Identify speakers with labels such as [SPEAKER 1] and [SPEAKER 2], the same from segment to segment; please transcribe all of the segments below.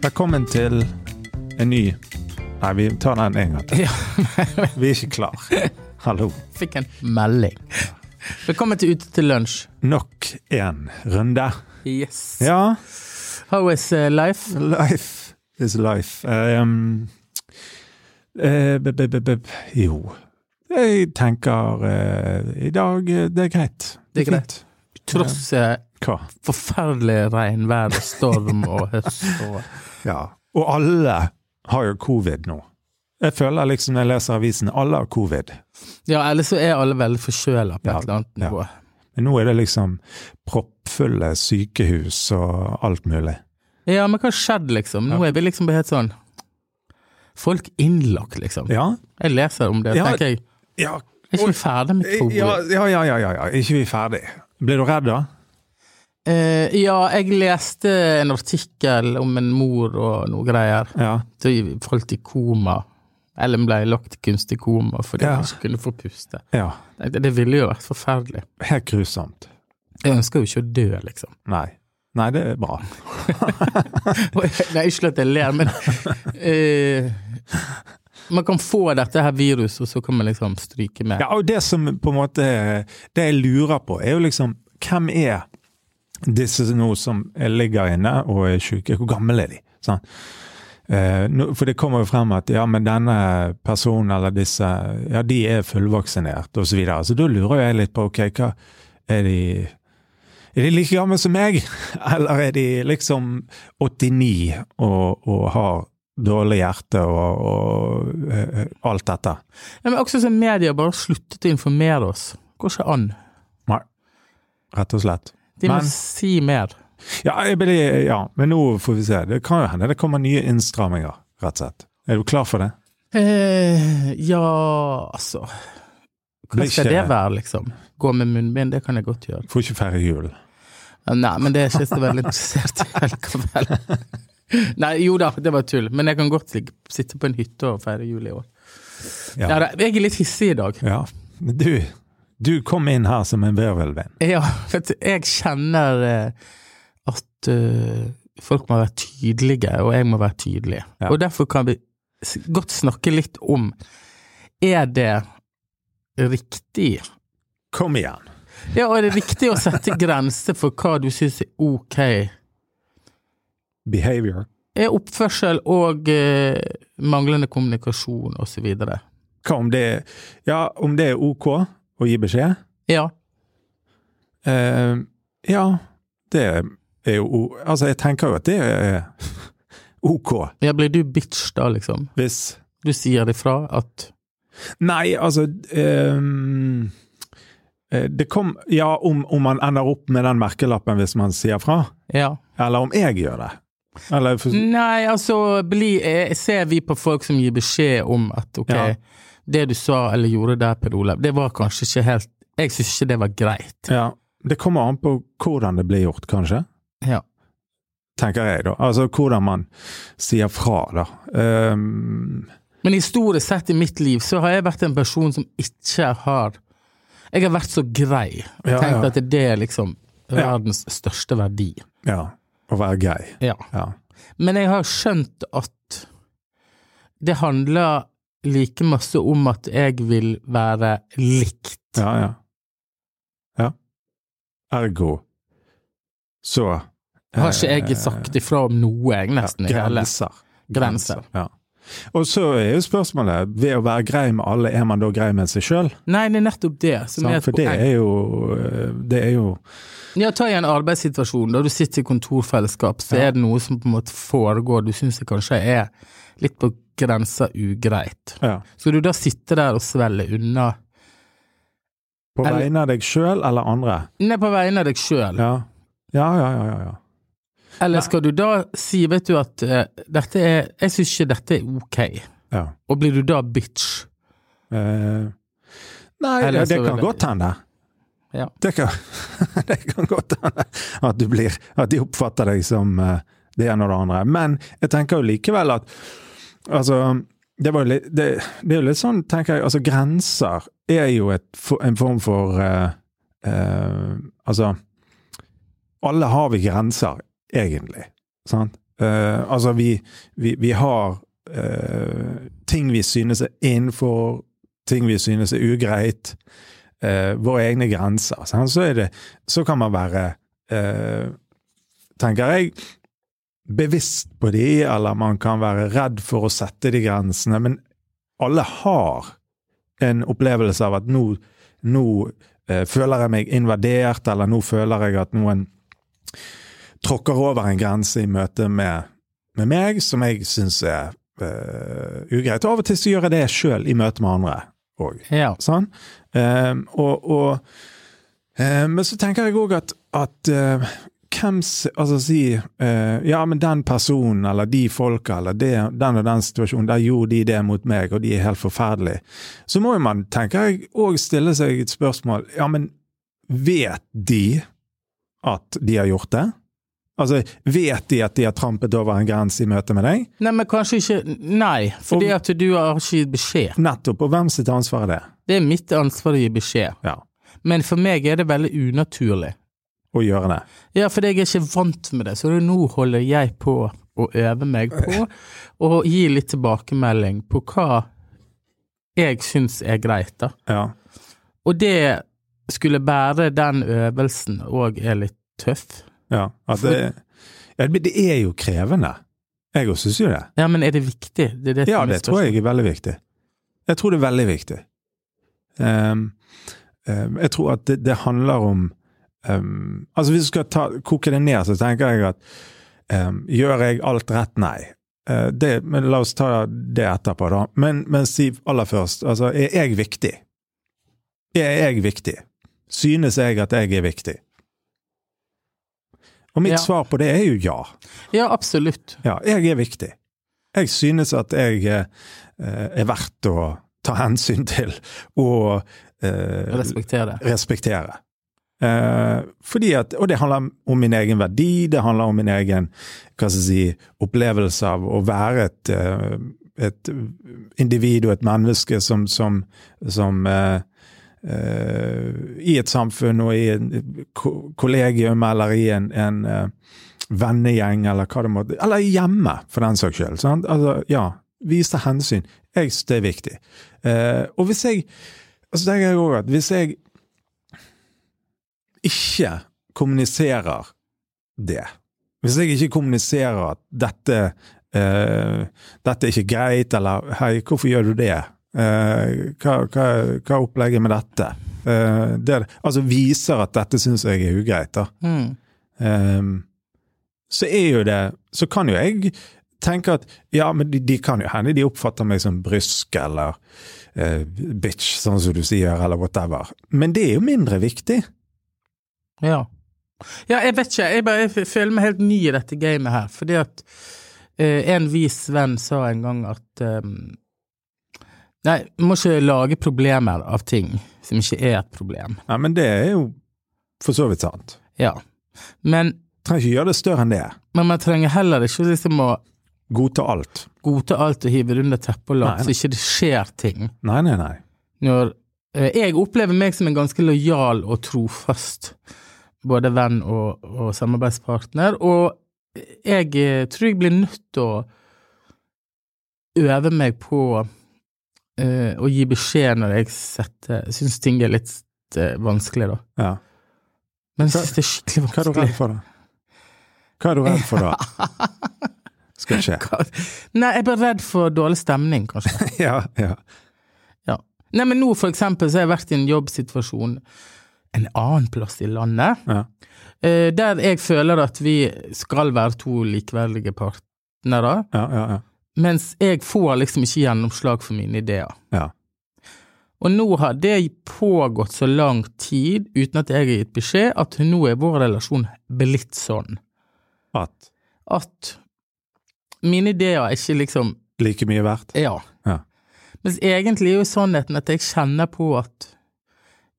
[SPEAKER 1] Velkommen til en ny Nei, vi tar den en gang til. Vi er ikke klar. Hallo.
[SPEAKER 2] Fikk en melding. Velkommen til Ute til lunsj.
[SPEAKER 1] Nok en runde.
[SPEAKER 2] Yes.
[SPEAKER 1] Ja,
[SPEAKER 2] How is eh, life?
[SPEAKER 1] life is life. Um, eh, b -b -b -b jo. Jeg tenker eh, i dag eh, det er greit.
[SPEAKER 2] Det er
[SPEAKER 1] fint.
[SPEAKER 2] Tross eh,
[SPEAKER 1] Hva?
[SPEAKER 2] forferdelig regn, vær og storm og høst og
[SPEAKER 1] Ja. Og alle har jo covid nå. Jeg føler liksom når jeg leser avisen, alle har covid.
[SPEAKER 2] Ja, ellers så er alle veldig forkjøla på
[SPEAKER 1] Ja,
[SPEAKER 2] et eller annet
[SPEAKER 1] ja.
[SPEAKER 2] nivå.
[SPEAKER 1] Men nå er det liksom proppfulle sykehus og alt mulig.
[SPEAKER 2] Ja, men hva har skjedd, liksom? Nå er vi liksom bare helt sånn Folk innlagt, liksom.
[SPEAKER 1] Ja,
[SPEAKER 2] Jeg leser om det,
[SPEAKER 1] Ja.
[SPEAKER 2] tenker jeg.
[SPEAKER 1] ja,
[SPEAKER 2] Er ikke vi ferdig med covid?
[SPEAKER 1] ja, ja, ja, ja, ja. ikke vi ferdig. Ble du redd da?
[SPEAKER 2] Eh, ja, jeg leste en artikkel om en mor og noe greier.
[SPEAKER 1] Ja.
[SPEAKER 2] Så falt i koma. Ellen ble lagt i kunstig koma fordi
[SPEAKER 1] Ja.
[SPEAKER 2] hun ikke kunne få puste.
[SPEAKER 1] ja.
[SPEAKER 2] Det, det ville jo vært forferdelig.
[SPEAKER 1] Helt grusomt.
[SPEAKER 2] Jeg ønsker jo ikke å dø, liksom.
[SPEAKER 1] Nei. Nei, det er bra.
[SPEAKER 2] Og jeg- Nei, ikke at jeg ler, men eh, Man kan få dette her viruset, og så kan man liksom stryke med.
[SPEAKER 1] Ja, og det som på en måte Det jeg lurer på, er jo liksom Hvem er disse nå som ligger inne og er syke? Hvor gamle er de? Sånn. Eh, nå- for det kommer jo frem at ja, men denne personen eller disse ja, de er fullvaksinert osv. Så, videre. så da lurer jeg litt på ok, hva er de er de like gamle som meg, eller er de liksom 89 og, og har dårlig hjerte og, og eh, alt dette?
[SPEAKER 2] Ja, men også som media bare sluttet å informere oss. Går ikke an.
[SPEAKER 1] Nei, rett og slett.
[SPEAKER 2] De må
[SPEAKER 1] Men-
[SPEAKER 2] si mer.
[SPEAKER 1] Ja, jeg blir, ja, men nå får vi se. Det kan jo hende det kommer nye innstramminger, rett og slett. Er du klar for det?
[SPEAKER 2] Eh, ja, altså Hva
[SPEAKER 1] Blir
[SPEAKER 2] skal
[SPEAKER 1] ikke-
[SPEAKER 2] det være, liksom? Gå med munnbind, det kan jeg godt gjøre.
[SPEAKER 1] Får ikke feire jul.
[SPEAKER 2] Ja, Nei, men det er ikke jeg så veldig interessert i likevel. Nei, jo da, det var tull. Men jeg kan godt ligge- sitte på en hytte og feire jul i år.
[SPEAKER 1] Ja.
[SPEAKER 2] Ja, da, jeg er litt hissig i dag.
[SPEAKER 1] Ja, men du, du kom inn her som en virvelvind.
[SPEAKER 2] Ja, vet du, jeg kjenner eh, at eh, folk må være tydelige, og jeg må være tydelig.
[SPEAKER 1] Ja.
[SPEAKER 2] Og derfor kan vi s- godt snakke litt om Er det riktig?
[SPEAKER 1] Kom igjen.
[SPEAKER 2] Ja, og er det riktig å sette grenser for hva du syns er ok?
[SPEAKER 1] Behavior.
[SPEAKER 2] er oppførsel og eh, manglende kommunikasjon osv.
[SPEAKER 1] Hva om det Ja, om det er ok å gi beskjed?
[SPEAKER 2] Ja.
[SPEAKER 1] Eh, ja, det er jo o- Altså, jeg tenker jo at det er ok
[SPEAKER 2] ja, blir du bitch da, liksom?
[SPEAKER 1] hvis
[SPEAKER 2] Du sier ifra at
[SPEAKER 1] Nei, altså ehm, eh, Det kom Ja, om, om man ender opp med den merkelappen hvis man sier fra,
[SPEAKER 2] Ja.
[SPEAKER 1] eller om jeg gjør det. Eller for,
[SPEAKER 2] Nei, altså, bli, eh, ser vi på folk som gir beskjed om at ok,
[SPEAKER 1] Ja.
[SPEAKER 2] det du sa eller gjorde der, Per Olav, det var kanskje ikke helt Jeg syns ikke det var greit.
[SPEAKER 1] ja, det kommer an på hvordan det blir gjort, kanskje.
[SPEAKER 2] Ja.
[SPEAKER 1] Tenker jeg, da. Altså hvordan man sier fra, da. Ehm,
[SPEAKER 2] Men historisk sett i mitt liv så har jeg vært en person som ikke har Jeg har vært så grei og
[SPEAKER 1] Ja,
[SPEAKER 2] tenkt
[SPEAKER 1] ja.
[SPEAKER 2] at det er liksom
[SPEAKER 1] Ja.
[SPEAKER 2] verdens største verdi.
[SPEAKER 1] ja. Å være grei.
[SPEAKER 2] Ja.
[SPEAKER 1] Ja.
[SPEAKER 2] Men jeg har skjønt at det handler like masse om at jeg vil være likt.
[SPEAKER 1] Ja, ja. ja. Ergo så
[SPEAKER 2] Har ikke
[SPEAKER 1] eh,
[SPEAKER 2] jeg sagt ifra om noe, jeg, nesten, i
[SPEAKER 1] ja,
[SPEAKER 2] hele
[SPEAKER 1] Grenser.
[SPEAKER 2] grenser.
[SPEAKER 1] Ja. Og så er jo spørsmålet, ved å være grei med alle, er man da grei med seg sjøl?
[SPEAKER 2] Nei, det er nettopp det som er et
[SPEAKER 1] For det
[SPEAKER 2] poeng.
[SPEAKER 1] er jo eh, Det er jo
[SPEAKER 2] Ja, ta i en arbeidssituasjon, da du sitter i kontorfellesskap, så
[SPEAKER 1] Ja.
[SPEAKER 2] er det noe som på en måte foregår, du syns det kanskje er litt på grensa ugreit.
[SPEAKER 1] ja.
[SPEAKER 2] Skal du da sitte der og svelle unna?
[SPEAKER 1] På
[SPEAKER 2] Eller-
[SPEAKER 1] vegne av deg sjøl eller andre.
[SPEAKER 2] Nei, på vegne av deg sjøl.
[SPEAKER 1] Ja. Ja, ja, ja, ja, ja.
[SPEAKER 2] Eller skal du da si, vet du at eh, dette er Jeg syns ikke dette er ok.
[SPEAKER 1] ja.
[SPEAKER 2] Og blir du da bitch?
[SPEAKER 1] Eh, nei,
[SPEAKER 2] Eller
[SPEAKER 1] det, det
[SPEAKER 2] så-
[SPEAKER 1] kan godt hende.
[SPEAKER 2] Ja.
[SPEAKER 1] Det kan, det kan godt hende at du blir At de oppfatter deg som eh, det ene og det andre. Men jeg tenker jo likevel at Altså, det var jo litt Det, det er jo litt sånn, tenker jeg Altså, grenser er jo et, for- en form for eh, eh, Altså Alle har vi grenser, egentlig. Sant? Eh, altså, vi, vi, vi har eh, ting vi synes er innenfor, ting vi synes er ugreit, eh, våre egne grenser. sant? Så, er det, så kan man være, eh, tenker jeg, bevisst på de, eller man kan være redd for å sette de grensene, men alle har en opplevelse av at nå, nå eh, føler jeg meg invadert, eller nå føler jeg at noen tråkker over en grense i møte med, med meg som jeg syns er eh, ugreit. Og av og til så gjør jeg det sjøl i møte med andre òg.
[SPEAKER 2] Ja.
[SPEAKER 1] Sånn? Eh, og, og, eh, men så tenker jeg òg at, at eh, hvem s- Altså si eh, Ja, men den personen eller de folka eller det, den og den situasjonen, der gjorde de det mot meg, og de er helt forferdelige. Så må jo man, tenker jeg, òg stille seg et spørsmål. Ja, men vet de at de har gjort det? Altså, vet de at de har trampet over en grense i møte med deg?
[SPEAKER 2] Nei, men kanskje ikke Nei, fordi
[SPEAKER 1] Om-
[SPEAKER 2] at du har ikke gitt beskjed.
[SPEAKER 1] Nettopp. Og hvem sitt ansvar er det?
[SPEAKER 2] Det er mitt ansvar å gi beskjed.
[SPEAKER 1] Ja,
[SPEAKER 2] Men for meg er det veldig unaturlig.
[SPEAKER 1] å gjøre det.
[SPEAKER 2] Ja, fordi jeg er ikke vant med det, så nå holder jeg på å øve meg på å gi litt tilbakemelding på hva jeg syns er greit, da.
[SPEAKER 1] Ja.
[SPEAKER 2] Og det skulle bære den øvelsen òg er litt tøff.
[SPEAKER 1] ja. At det, ja, men det er jo krevende. Jeg òg syns jo det.
[SPEAKER 2] Ja, men er det viktig? Det er det
[SPEAKER 1] Ja,
[SPEAKER 2] som er
[SPEAKER 1] det tror jeg er veldig viktig. Jeg tror det er veldig viktig. Ehm, ehm, jeg tror at det, det handler om ehm, Altså, hvis du skal ta, koke det ned, så tenker jeg at ehm, Gjør jeg alt rett? Nei. Eh, det, men la oss ta det etterpå, da. Men, men si aller først, altså, er jeg viktig? Er jeg viktig? Synes jeg at jeg er viktig? Og mitt
[SPEAKER 2] Ja.
[SPEAKER 1] svar på det er jo ja.
[SPEAKER 2] Ja, absolutt.
[SPEAKER 1] Ja, jeg er viktig. Jeg synes at jeg eh, er verdt å ta hensyn til og eh,
[SPEAKER 2] Respekter det.
[SPEAKER 1] respektere. Eh, fordi at, og det handler om min egen verdi, det handler om min egen hva skal jeg si, opplevelse av å være et, eh, et individ og et menneske som, som, som eh, eh, I et samfunn og i en ko- kollegium eller i en, en eh, vennegjeng eller hva det måtte Eller hjemme, for den saks skyld. sant? Altså, ja, vise hensyn. Jeg synes det er viktig. Eh, og hvis jeg altså tenker jeg også at hvis jeg ikke kommuniserer det. Hvis jeg ikke kommuniserer at dette, eh, dette er ikke greit, eller hei, hvorfor gjør du det? Eh, hva, hva, hva er opplegget med dette? Eh, det, altså viser at dette syns jeg er ugreit, da.
[SPEAKER 2] Mm.
[SPEAKER 1] Ehm, så er jo det Så kan jo jeg tenke at ja, men de, de kan jo hende de oppfatter meg som brysk eller eh, bitch, sånn som du sier, eller whatever. Men det er jo mindre viktig.
[SPEAKER 2] Ja. ja, jeg vet ikke. Jeg, bare, jeg føler meg helt ny i dette gamet her. Fordi at eh, en vis venn sa en gang at eh, Nei, du må ikke lage problemer av ting som ikke er et problem.
[SPEAKER 1] Ja, men det er jo for så vidt sant.
[SPEAKER 2] Ja. Men,
[SPEAKER 1] Trenger ikke gjøre det større enn det.
[SPEAKER 2] men man trenger heller ikke liksom å
[SPEAKER 1] Godta alt.
[SPEAKER 2] godta alt og hive det under teppet og
[SPEAKER 1] Nei,
[SPEAKER 2] late
[SPEAKER 1] nei.
[SPEAKER 2] så ikke det skjer ting.
[SPEAKER 1] Nei, nei, nei.
[SPEAKER 2] Når eh, Jeg opplever meg som en ganske lojal og trofast både venn og, og samarbeidspartner, og jeg eh, tror jeg blir nødt til å øve meg på eh, å gi beskjed når jeg setter syns ting er litt eh, vanskelig, da.
[SPEAKER 1] Ja.
[SPEAKER 2] Men jeg
[SPEAKER 1] Hva-
[SPEAKER 2] syns det er skikkelig
[SPEAKER 1] Hva er du
[SPEAKER 2] vanskelig.
[SPEAKER 1] redd for, da? Hva er du redd for, da? Skal skje.
[SPEAKER 2] Hva- Nei, jeg er bare redd for dårlig stemning, kanskje.
[SPEAKER 1] Ja, ja.
[SPEAKER 2] Ja. Nei, men nå for eksempel så har jeg vært i en jobbsituasjon en annen plass i landet,
[SPEAKER 1] Ja.
[SPEAKER 2] eh, der jeg føler at vi skal være to likeverdige partnere,
[SPEAKER 1] Ja, ja, ja.
[SPEAKER 2] mens jeg får liksom ikke gjennomslag for mine ideer.
[SPEAKER 1] ja.
[SPEAKER 2] Og nå har det pågått så lang tid uten at jeg har gitt beskjed at nå er vår relasjon blitt sånn
[SPEAKER 1] At
[SPEAKER 2] at mine ideer er ikke liksom
[SPEAKER 1] like mye verdt?
[SPEAKER 2] Ja.
[SPEAKER 1] Ja.
[SPEAKER 2] Mens egentlig er jo sannheten at jeg kjenner på at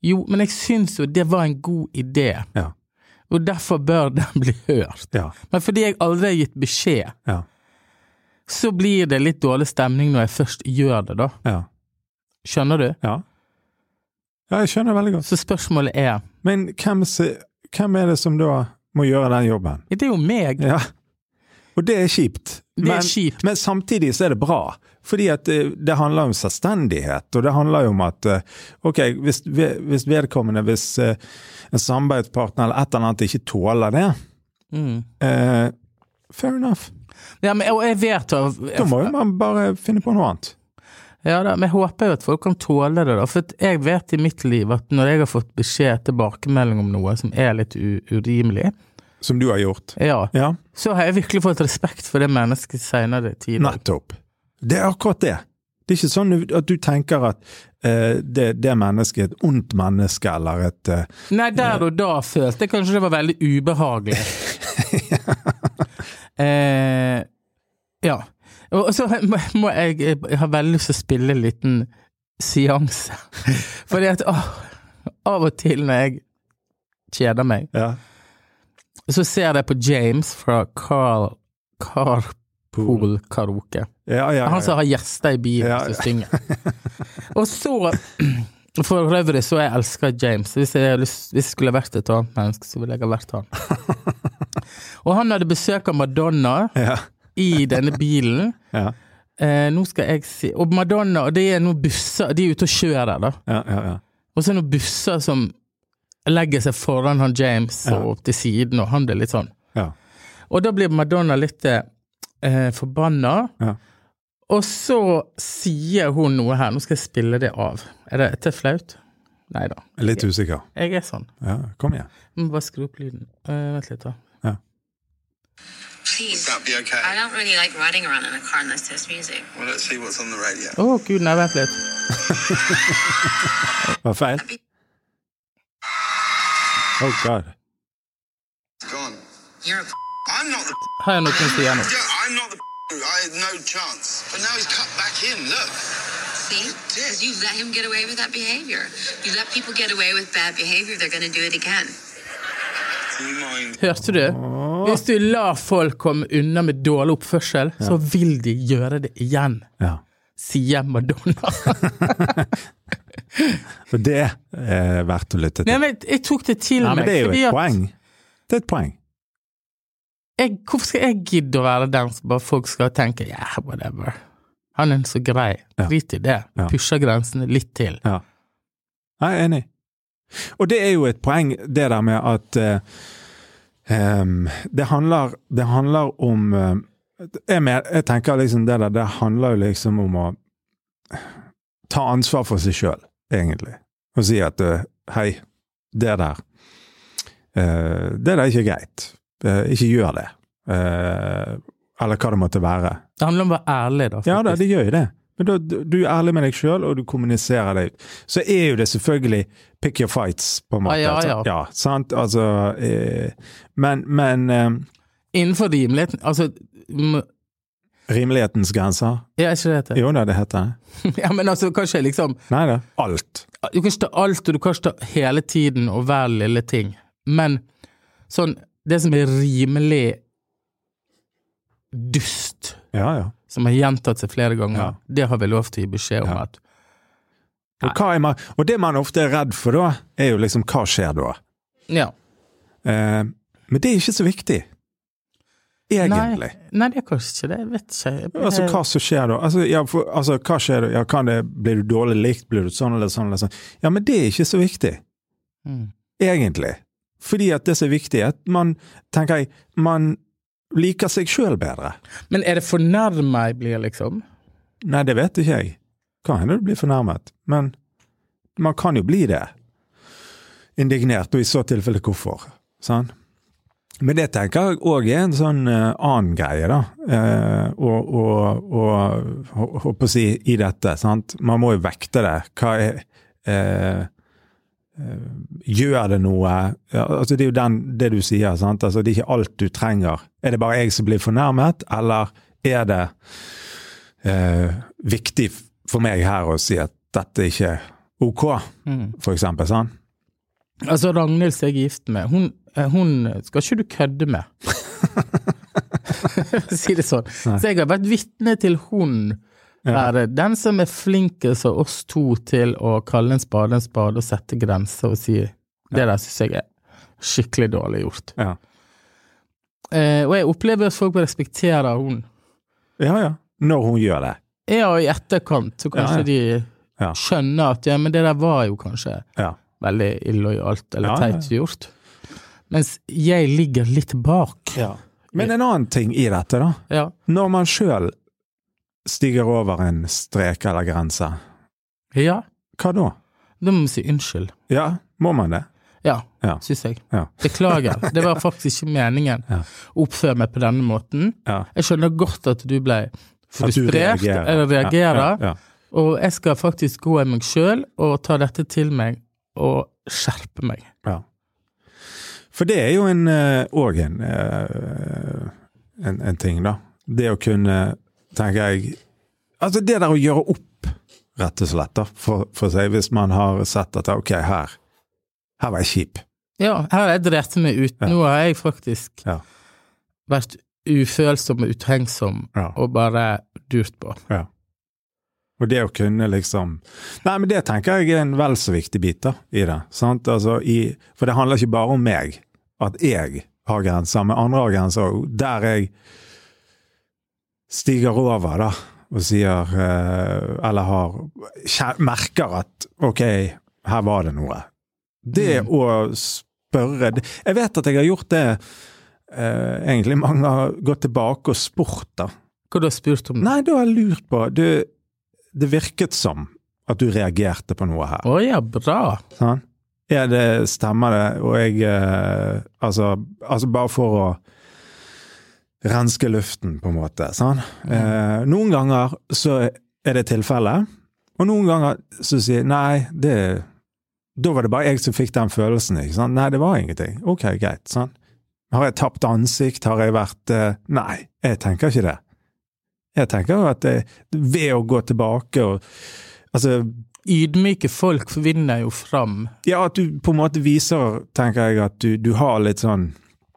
[SPEAKER 2] Jo, men jeg syns jo det var en god idé,
[SPEAKER 1] Ja.
[SPEAKER 2] og derfor bør den bli hørt.
[SPEAKER 1] Ja.
[SPEAKER 2] Men fordi jeg aldri har gitt beskjed,
[SPEAKER 1] Ja.
[SPEAKER 2] så blir det litt dårlig stemning når jeg først gjør det, da.
[SPEAKER 1] Ja.
[SPEAKER 2] Skjønner du?
[SPEAKER 1] Ja, ja jeg skjønner veldig godt.
[SPEAKER 2] Så spørsmålet er
[SPEAKER 1] Men hvem, se- hvem er det som da må gjøre den jobben?
[SPEAKER 2] Det er jo meg.
[SPEAKER 1] Ja, Og det er kjipt.
[SPEAKER 2] Det er kjipt.
[SPEAKER 1] men samtidig så er det bra. Fordi at eh, det handler om selvstendighet, og det handler jo om at eh, ok, hvis, ve- hvis vedkommende, hvis eh, en samarbeidspartner eller et eller annet ikke tåler det,
[SPEAKER 2] Mm.
[SPEAKER 1] eh, fair enough.
[SPEAKER 2] Ja, men, og jeg vet jo
[SPEAKER 1] Da må jo man bare finne på noe annet.
[SPEAKER 2] Ja da, men jeg håper jo at folk kan tåle det, da. For at jeg vet i mitt liv at når jeg har fått beskjed, tilbakemelding om noe som er litt u urimelig,
[SPEAKER 1] Som du har gjort.
[SPEAKER 2] ja,
[SPEAKER 1] Ja,
[SPEAKER 2] så har jeg virkelig fått respekt for det mennesket seinere i tiden.
[SPEAKER 1] nettopp. Det er akkurat det. Det er ikke sånn at du tenker at eh, det, det mennesket er et ondt menneske, eller et eh,
[SPEAKER 2] Nei, der og da følte jeg kanskje det var veldig ubehagelig. eh, ja. Og og så må må jeg, jeg har veldig lyst til å spille en liten seanse. Fordi at av, av og til når jeg kjeder meg,
[SPEAKER 1] ja,
[SPEAKER 2] så ser jeg på James fra Carl Carpool Karaoke.
[SPEAKER 1] ja, ja,
[SPEAKER 2] Han
[SPEAKER 1] ja.
[SPEAKER 2] som har gjester i bilen
[SPEAKER 1] Ja, ja.
[SPEAKER 2] som synger. Og så For øvrig så jeg elsker James. Hvis jeg, har lyst, hvis jeg skulle vært et annet menneske, så ville jeg ha vært han. Og han hadde besøk av Madonna
[SPEAKER 1] ja,
[SPEAKER 2] i denne bilen.
[SPEAKER 1] ja,
[SPEAKER 2] Eh, nå skal jeg si Og Madonna, og det er noen busser De er ute og kjører, da.
[SPEAKER 1] ja, ja, ja.
[SPEAKER 2] Og så er det noen busser som legger seg foran han James og opp til siden, og han blir litt sånn.
[SPEAKER 1] Ja.
[SPEAKER 2] Og da blir Madonna litt eh, forbanna.
[SPEAKER 1] Ja.
[SPEAKER 2] Og så sier hun noe her. Nå skal jeg spille det av. Er det til flaut? Nei da.
[SPEAKER 1] Jeg er Litt usikker.
[SPEAKER 2] Jeg er sånn.
[SPEAKER 1] Ja, kom igjen.
[SPEAKER 2] Jeg må bare skru opp lyden. Eh, vent litt, da.
[SPEAKER 3] Please.
[SPEAKER 4] That'd be okay.
[SPEAKER 3] I don't really like riding around in a car unless there's music.
[SPEAKER 4] Well, let's see what's on the radio.
[SPEAKER 2] Å, gud, nei, vent litt.
[SPEAKER 1] Var det feil? Oh god.
[SPEAKER 4] It's gone.
[SPEAKER 3] You're a p-
[SPEAKER 4] I'm not the.
[SPEAKER 2] Har jeg noe å si igjen nå?
[SPEAKER 4] Yeah, I'm not the. I had no chance. But now he's cut back in. Look.
[SPEAKER 3] see? Because you let him get away with that behavior. You let people get away with bad behavior, they're going to do it again.
[SPEAKER 4] Do you mind?
[SPEAKER 2] Hørte du? Hvis du lar folk komme unna med dårlig oppførsel, så vil de gjøre det igjen,
[SPEAKER 1] Ja.
[SPEAKER 2] sier Madonna.
[SPEAKER 1] For det er eh, verdt å lytte
[SPEAKER 2] Nei,
[SPEAKER 1] til.
[SPEAKER 2] men jeg tok det til
[SPEAKER 1] Nei, men
[SPEAKER 2] meg,
[SPEAKER 1] det er jo
[SPEAKER 2] fordi
[SPEAKER 1] et
[SPEAKER 2] at
[SPEAKER 1] poeng. Det er et poeng.
[SPEAKER 2] jeg, hvorfor skal jeg gidde å være den som bare folk skal tenke ja, whatever. Han er så grei.
[SPEAKER 1] Ja.
[SPEAKER 2] Drit i det.
[SPEAKER 1] Ja.
[SPEAKER 2] Pusher grensene litt til.
[SPEAKER 1] Ja. Jeg er enig. Og det er jo et poeng, det der med at eh, em, det, handler, det handler om eh, jeg, men- jeg tenker liksom det der, det handler jo liksom om å ta ansvar for seg sjøl, egentlig. Og si at eh, hei, det der eh, Det der er ikke greit. Eh, ikke gjør det. Eh, eller hva det måtte være.
[SPEAKER 2] Det handler om å være ærlig, da.
[SPEAKER 1] Ja da,
[SPEAKER 2] faktisk.
[SPEAKER 1] det gjør jo det. Men da, du du er ærlig med deg sjøl, og du kommuniserer det ut. Så er jo det selvfølgelig pick your fights, på en måte.
[SPEAKER 2] Ja, ja, ja.
[SPEAKER 1] altså. ja sant? Altså eh, Men, men eh,
[SPEAKER 2] Innenfor rimeligheten. Altså m-
[SPEAKER 1] rimelighetens grenser?
[SPEAKER 2] ja, er ikke det det heter?
[SPEAKER 1] Jo da, det heter det.
[SPEAKER 2] Ja, men altså, kanskje liksom
[SPEAKER 1] Nei da. Alt.
[SPEAKER 2] Du kan ikke ta alt, og du kan ikke ta hele tiden og hver lille ting, men sånn Det som er rimelig dust,
[SPEAKER 1] Ja, ja.
[SPEAKER 2] som har gjentatt seg flere ganger,
[SPEAKER 1] Ja.
[SPEAKER 2] det har vi lov til å gi beskjed om
[SPEAKER 1] Ja.
[SPEAKER 2] at
[SPEAKER 1] Og, hva er man, og det man ofte er redd for da, er jo liksom hva skjer da?
[SPEAKER 2] Ja.
[SPEAKER 1] Eh, men det er ikke så viktig. Egentlig.
[SPEAKER 2] Nei, nei, det er kanskje ikke det. Jeg vet ikke. Jeg,
[SPEAKER 1] Altså, hva som skjer da? Altså, ja, for, altså, hva skjer da? Ja, kan det, blir du dårlig likt? Blir du sånn eller sånn eller sånn? Ja, men det er ikke så viktig.
[SPEAKER 2] Mm.
[SPEAKER 1] Egentlig. Fordi at det som er viktig, er at man, tenker jeg, man liker seg sjøl bedre.
[SPEAKER 2] Men er det fornærma jeg blir, liksom?
[SPEAKER 1] Nei, det vet ikke jeg. Kan hende du blir fornærmet, men man kan jo bli det. Indignert, og i så tilfelle hvorfor. Sant? Men det tenker jeg òg er en sånn eh, annen greie, da. Eh, og, og, og hå- håper å si i dette, sant. Man må jo vekte det. Hva er eh, eh, Gjør det noe? Ja, altså det er jo den, det du sier, sant. Altså, det er ikke alt du trenger. Er det bare jeg som blir fornærmet, eller er det eh, viktig f- for meg her å si at dette er ikke ok,
[SPEAKER 2] Mm.
[SPEAKER 1] for eksempel. Sant?
[SPEAKER 2] Altså, Ragnhild som jeg er gift med, hun, eh, hun skal ikke du kødde med. si det sånn. Så jeg har vært vitne til hun være den som er flinkest av oss to til å kalle en spade en spade og sette grenser og si det der syns jeg er skikkelig dårlig gjort.
[SPEAKER 1] Ja.
[SPEAKER 2] Eh, og jeg opplever at folk respekterer hun.
[SPEAKER 1] Ja, ja. Når hun gjør det.
[SPEAKER 2] Ja, og i etterkant så kanskje
[SPEAKER 1] Ja,
[SPEAKER 2] de
[SPEAKER 1] Ja.
[SPEAKER 2] skjønner at ja, men det der var jo kanskje
[SPEAKER 1] Ja.
[SPEAKER 2] veldig illojalt eller
[SPEAKER 1] Ja, ja, ja.
[SPEAKER 2] teit gjort. Mens jeg ligger litt bak.
[SPEAKER 1] Men en annen ting i dette, da.
[SPEAKER 2] Ja.
[SPEAKER 1] Når man sjøl stiger over en strek eller grense,
[SPEAKER 2] ja.
[SPEAKER 1] hva da?
[SPEAKER 2] Da må vi si unnskyld.
[SPEAKER 1] Ja, må man det?
[SPEAKER 2] Ja,
[SPEAKER 1] Ja.
[SPEAKER 2] syns jeg.
[SPEAKER 1] Ja.
[SPEAKER 2] Beklager. Det var faktisk ikke meningen
[SPEAKER 1] Ja.
[SPEAKER 2] å oppføre meg på denne måten.
[SPEAKER 1] Ja.
[SPEAKER 2] Jeg skjønner godt at du ble
[SPEAKER 1] At du
[SPEAKER 2] frustrert
[SPEAKER 1] reagerer.
[SPEAKER 2] eller reagerer,
[SPEAKER 1] Ja, ja, ja.
[SPEAKER 2] og jeg skal faktisk gå i meg sjøl og ta dette til meg og skjerpe meg.
[SPEAKER 1] Ja. For det er jo en òg en, eh, en, en ting, da. Det å kunne, tenker jeg Altså det der å gjøre opp, rett og slett, da, for, for seg, hvis man har sett at ok, her her var jeg kjip.
[SPEAKER 2] Ja, her har jeg drept meg ut.
[SPEAKER 1] Ja.
[SPEAKER 2] Nå har jeg faktisk
[SPEAKER 1] Ja.
[SPEAKER 2] vært ufølsom og uthengsom
[SPEAKER 1] Ja.
[SPEAKER 2] og bare durt på.
[SPEAKER 1] Ja. Og det å kunne liksom Nei, men det tenker jeg er en vel så viktig bit da, i det. sant? Altså, i, for det handler ikke bare om meg, at jeg har grenser, men andre har grenser òg. Der jeg stiger over, da, og sier eh, Eller har kje- Merker at OK, her var det noe. Det å spørre det- Jeg vet at jeg har gjort det eh, egentlig mange har gått tilbake og spurt, da.
[SPEAKER 2] Hva du har spurt om?
[SPEAKER 1] Nei, da har jeg lurt på du, Det virket som at du reagerte på noe her.
[SPEAKER 2] Å ja, bra.
[SPEAKER 1] sant? Ja, det stemmer det, og jeg eh, altså, altså, bare for å renske luften, på en måte. sant? Eh, noen ganger så er det tilfellet, og noen ganger så sier jeg nei, det Da var det bare jeg som fikk den følelsen, ikke sant? Nei, det var ingenting. Ok, greit. sant? Har jeg tapt ansikt? Har jeg vært eh, Nei, jeg tenker ikke det. Jeg tenker jo at det, ved å gå tilbake og Altså,
[SPEAKER 2] Ydmyke folk vinner jo fram
[SPEAKER 1] ja, at du på en måte viser, tenker jeg, at du, du har litt sånn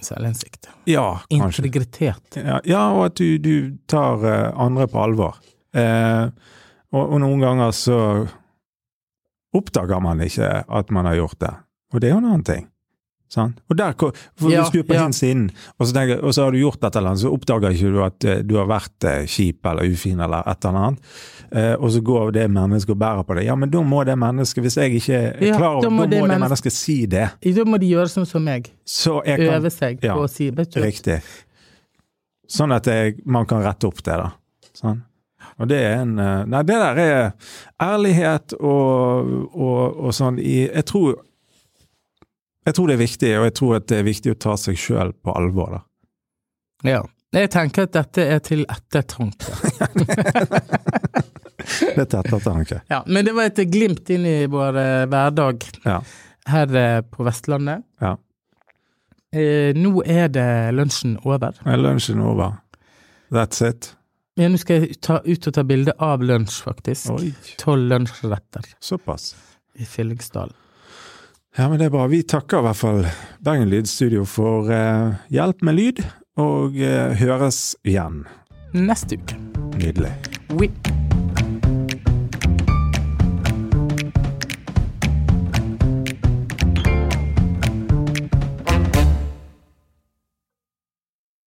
[SPEAKER 2] selvinnsikt.
[SPEAKER 1] Ja, kanskje.
[SPEAKER 2] Integritet.
[SPEAKER 1] Ja, ja og at du, du tar eh, andre på alvor. Eh, og, og noen ganger så oppdager man ikke at man har gjort det. Og det er jo en annen ting. Sant? Og der, ko- for
[SPEAKER 2] Ja,
[SPEAKER 1] Hvis du er på
[SPEAKER 2] ja.
[SPEAKER 1] din siden, og så, tenker, og så har du gjort et eller annet, så oppdager ikke du at eh, du har vært eh, kjip eller ufin eller et eller annet, eh, og så går det mennesket og bærer på det. Ja, men da må det mennesket, hvis jeg ikke er
[SPEAKER 2] Ja,
[SPEAKER 1] klar over
[SPEAKER 2] da
[SPEAKER 1] det, da
[SPEAKER 2] må
[SPEAKER 1] må
[SPEAKER 2] det
[SPEAKER 1] det
[SPEAKER 2] mennesket-
[SPEAKER 1] mennesket si det.
[SPEAKER 2] Da må de gjøre sånn som meg.
[SPEAKER 1] Så jeg kan
[SPEAKER 2] Øve seg
[SPEAKER 1] Ja.
[SPEAKER 2] på å si vet du.
[SPEAKER 1] Riktig. Sånn at jeg, man kan rette opp det, da. Sånn. Og det er en eh, Nei, det der er ærlighet og, og, og sånn i Jeg tror jeg tror det er viktig, og jeg tror at det er viktig å ta seg sjøl på alvor. da.
[SPEAKER 2] Ja. Jeg tenker at dette er til ettertanke.
[SPEAKER 1] Det er tett ettertanke.
[SPEAKER 2] Ja, men det var et glimt inn i vår eh, hverdag
[SPEAKER 1] Ja.
[SPEAKER 2] her eh, på Vestlandet.
[SPEAKER 1] ja.
[SPEAKER 2] Eh, nå er det lunsjen over.
[SPEAKER 1] Er Lunsjen over. That's it.
[SPEAKER 2] Ja, nå skal jeg ta, ut og ta bilde av lunsj, faktisk.
[SPEAKER 1] Oi,
[SPEAKER 2] Tolv lunsjretter
[SPEAKER 1] såpass.
[SPEAKER 2] i Fyllingsdalen.
[SPEAKER 1] Ja, men det er bra. Vi takker i hvert fall Bergen Lydstudio for eh, hjelp med lyd, og eh, høres igjen.
[SPEAKER 2] Neste uke.
[SPEAKER 1] Nydelig.
[SPEAKER 2] Whip.